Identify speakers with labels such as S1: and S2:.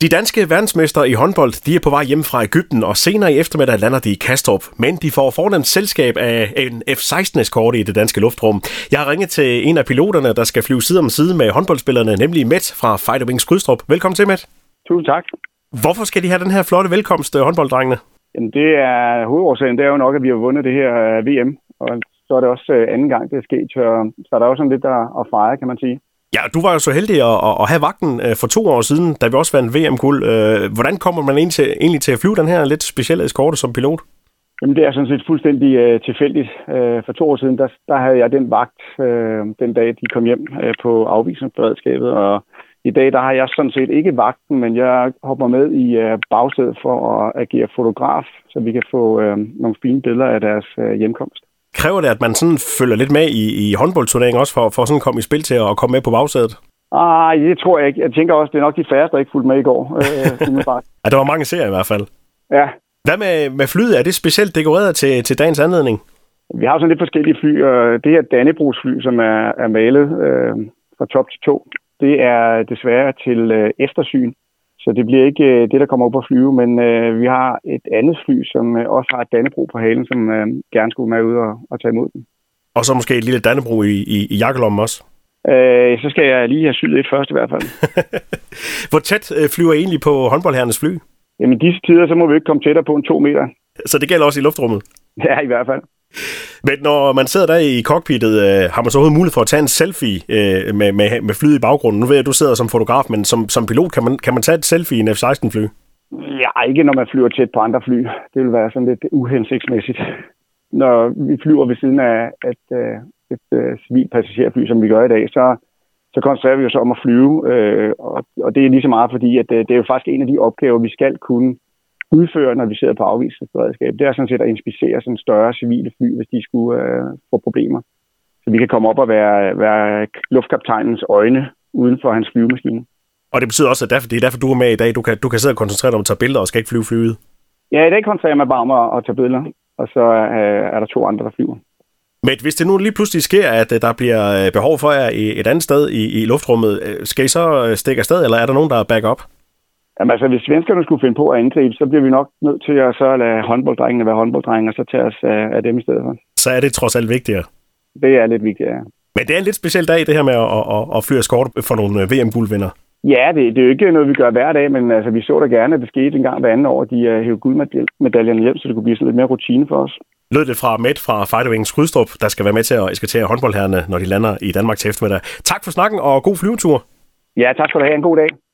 S1: De danske verdensmestre i håndbold, de er på vej hjem fra Ægypten, og senere i eftermiddag lander de i Kastrup. Men de får fornemt selskab af en F-16-eskorte i det danske luftrum. Jeg har ringet til en af piloterne, der skal flyve side om side med håndboldspillerne, nemlig Met fra Fighter Wings Krydstrup. Velkommen til, Met.
S2: Tusind tak.
S1: Hvorfor skal de have den her flotte velkomst, øh, håndbolddrengene?
S2: Jamen, det er hovedårsagen, det er jo nok, at vi har vundet det her øh, VM, og så er det også øh, anden gang, det er sket, så, så der er jo sådan lidt at, at fejre, kan man sige.
S1: Ja, du var jo så heldig at, at- at have vagten øh, for to år siden, da vi også vandt VM-guld. Øh, Hvordan kommer man egentlig til, egentlig til at flyve den her lidt specielle eskorte som pilot?
S2: Jamen, det er sådan set fuldstændig øh, tilfældigt. Øh, for to år siden, der, der havde jeg den vagt, øh, den dag de kom hjem øh, på afvisningsberedskabet, og i dag, der har jeg sådan set ikke vagten, men jeg hopper med i øh, bagsædet for at agere fotograf, så vi kan få øh, nogle fine billeder af deres øh, hjemkomst.
S1: Kræver det, at man sådan følger lidt med i, i håndboldturneringen også, for, for sådan at komme i spil til at komme med på bagsædet?
S2: Ah, det tror jeg ikke. Jeg tænker også, det er nok de færreste, der ikke fulgte med i går. Øh, umiddelbart.
S1: At der var mange serier i hvert fald.
S2: ja,
S1: Hvad med, med flyet? Er det specielt dekoreret til, til dagens anledning?
S2: vi har jo sådan lidt forskellige fly. og Det her Dannebrogsfly, som er, er malet øh, fra top til to, det er desværre til øh, eftersyn. Så det bliver ikke øh, det, der kommer op at flyve, men øh, vi har et andet fly, som øh, også har et Dannebro på halen, som øh, gerne skulle med ud og, og tage imod den.
S1: Og så måske et lille Dannebro i, i, i jakkelommen også.
S2: Øh, så skal jeg lige have syet et først i hvert fald.
S1: Hvor tæt øh, flyver I egentlig på håndboldherrenes fly?
S2: Jamen i disse tider, så må vi ikke komme tættere på en to meter.
S1: Så det gælder også i luftrummet.
S2: Ja, i hvert fald.
S1: Men når man sidder der i cockpittet, øh, har man så overhovedet mulighed for at tage en selfie øh, med, med, med flyet i baggrunden? Nu ved jeg, at du sidder som fotograf, men som, som pilot, kan man, kan man tage et selfie i en F-16-fly?
S2: Ja, ikke når man flyver tæt på andre fly. Det vil være sådan lidt uhensigtsmæssigt. Når vi flyver ved siden af et, øh, et øh, civilt passagerfly, som vi gør i dag, så, så koncentrerer vi os om at flyve. Øh, og, og det er lige så meget, fordi at, øh, det er jo faktisk en af de opgaver, vi skal kunne udføre, når vi sidder på afvisningsberedskab. Det er sådan set at inspicere sådan større civile fly, hvis de skulle øh, få problemer. Så vi kan komme op og være, være luftkaptajnens øjne uden for hans flyvemaskine.
S1: Og det betyder også, at derfor, det er derfor, du er med i dag. Du kan, du kan sidde og koncentrere dig om at tage billeder og skal ikke flyve flyet.
S2: Ja, i dag koncentrerer jeg mig bare om at, at tage billeder, og så øh, er der to andre, der flyver.
S1: Men hvis det nu lige pludselig sker, at øh, der bliver øh, behov for jer i- et andet sted i, i luftrummet, øh, skal I så øh, stikke afsted, eller er der nogen, der er back up?
S2: Jamen altså, hvis svenskerne skulle finde på at angribe, så bliver vi nok nødt til at så lade håndbolddrengene være håndbolddrenge, og så tage os øh, af, af dem i stedet for.
S1: Så er det trods alt vigtigere.
S2: Det er lidt vigtigt, ja.
S1: Men det er en lidt speciel dag, det her med at, at, at, at flyve eskorte for nogle øh, VM-guldvinder.
S2: Ja, det, det er jo ikke noget, vi gør hver dag, men altså, vi så da gerne, at det skete en gang hver anden år, at de uh, hævde guldmedaljerne hjem, så det kunne blive sådan lidt mere rutine for os.
S1: Lød det fra Matt fra Fighter Wings Krydstrup, der skal være med til at eskortere håndboldherrene, når de lander i Danmark til eftermiddag. Tak for snakken, og god flyvetur.
S2: Ja, tak skal du have. En god dag.